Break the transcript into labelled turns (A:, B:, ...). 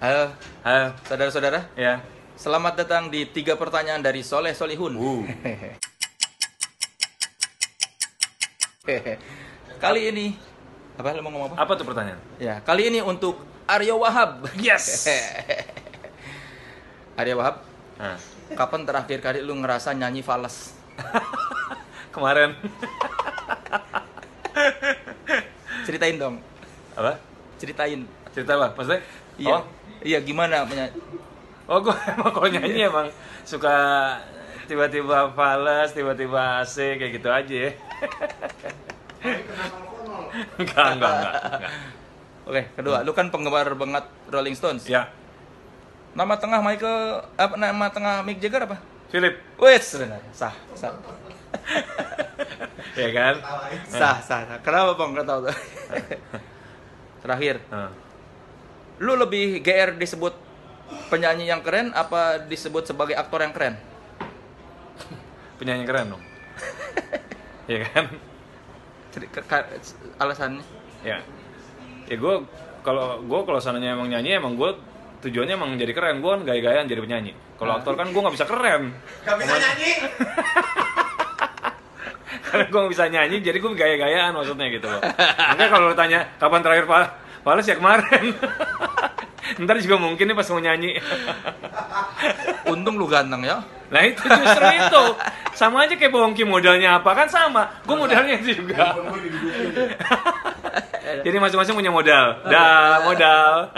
A: Halo,
B: Halo,
A: saudara-saudara.
B: ya.
A: Selamat datang di tiga pertanyaan dari Soleh Solihun.
B: Wuh.
A: Kali ini apa lu mau ngomong apa?
B: Apa tuh pertanyaan?
A: Ya, kali ini untuk Aryo Wahab.
B: Yes.
A: Aryo Wahab,
B: Nah,
A: kapan terakhir kali lu ngerasa nyanyi fals?
B: kemarin
A: Ceritain dong.
B: apa?
A: Ceritain.
B: Cerita apa? Maksudnya?
A: Iya.
B: Oh,
A: Iya, gimana menya-
B: oh gue emang kalau nyanyi emang suka tiba-tiba fales, tiba-tiba AC kayak gitu aja ya. enggak, enggak, enggak, enggak.
A: Oke, kedua, lu kan penggemar banget Rolling Stones.
B: Hmm. Ya,
A: Nama tengah Michael apa nama tengah Mick Jagger apa?
B: Philip,
A: Wes, benar. sah, sah.
B: ya kan?
A: Sah, sah, sah. Kenapa Bang Nggak tahu tuh? Terakhir,
B: Nah,
A: lu lebih GR disebut penyanyi yang keren apa disebut sebagai aktor yang keren?
B: penyanyi keren dong. ya kan?
A: Jadi, ke- ka- Alasannya?
B: ya ya gue kalau gue kalau sananya emang nyanyi emang gue tujuannya emang jadi keren gue kan gaya-gayaan jadi penyanyi kalau aktor kan gue nggak bisa keren
C: Gak bisa nyanyi.
B: karena gue nggak bisa nyanyi jadi gue gaya-gayaan maksudnya gitu loh makanya kalau lo tanya kapan terakhir pal Pales ya kemarin ntar juga mungkin nih pas mau nyanyi
A: Untung lu ganteng ya.
B: nah itu justru itu sama aja kayak bohongki modalnya apa kan sama gue modalnya itu juga jadi masing-masing punya modal dah modal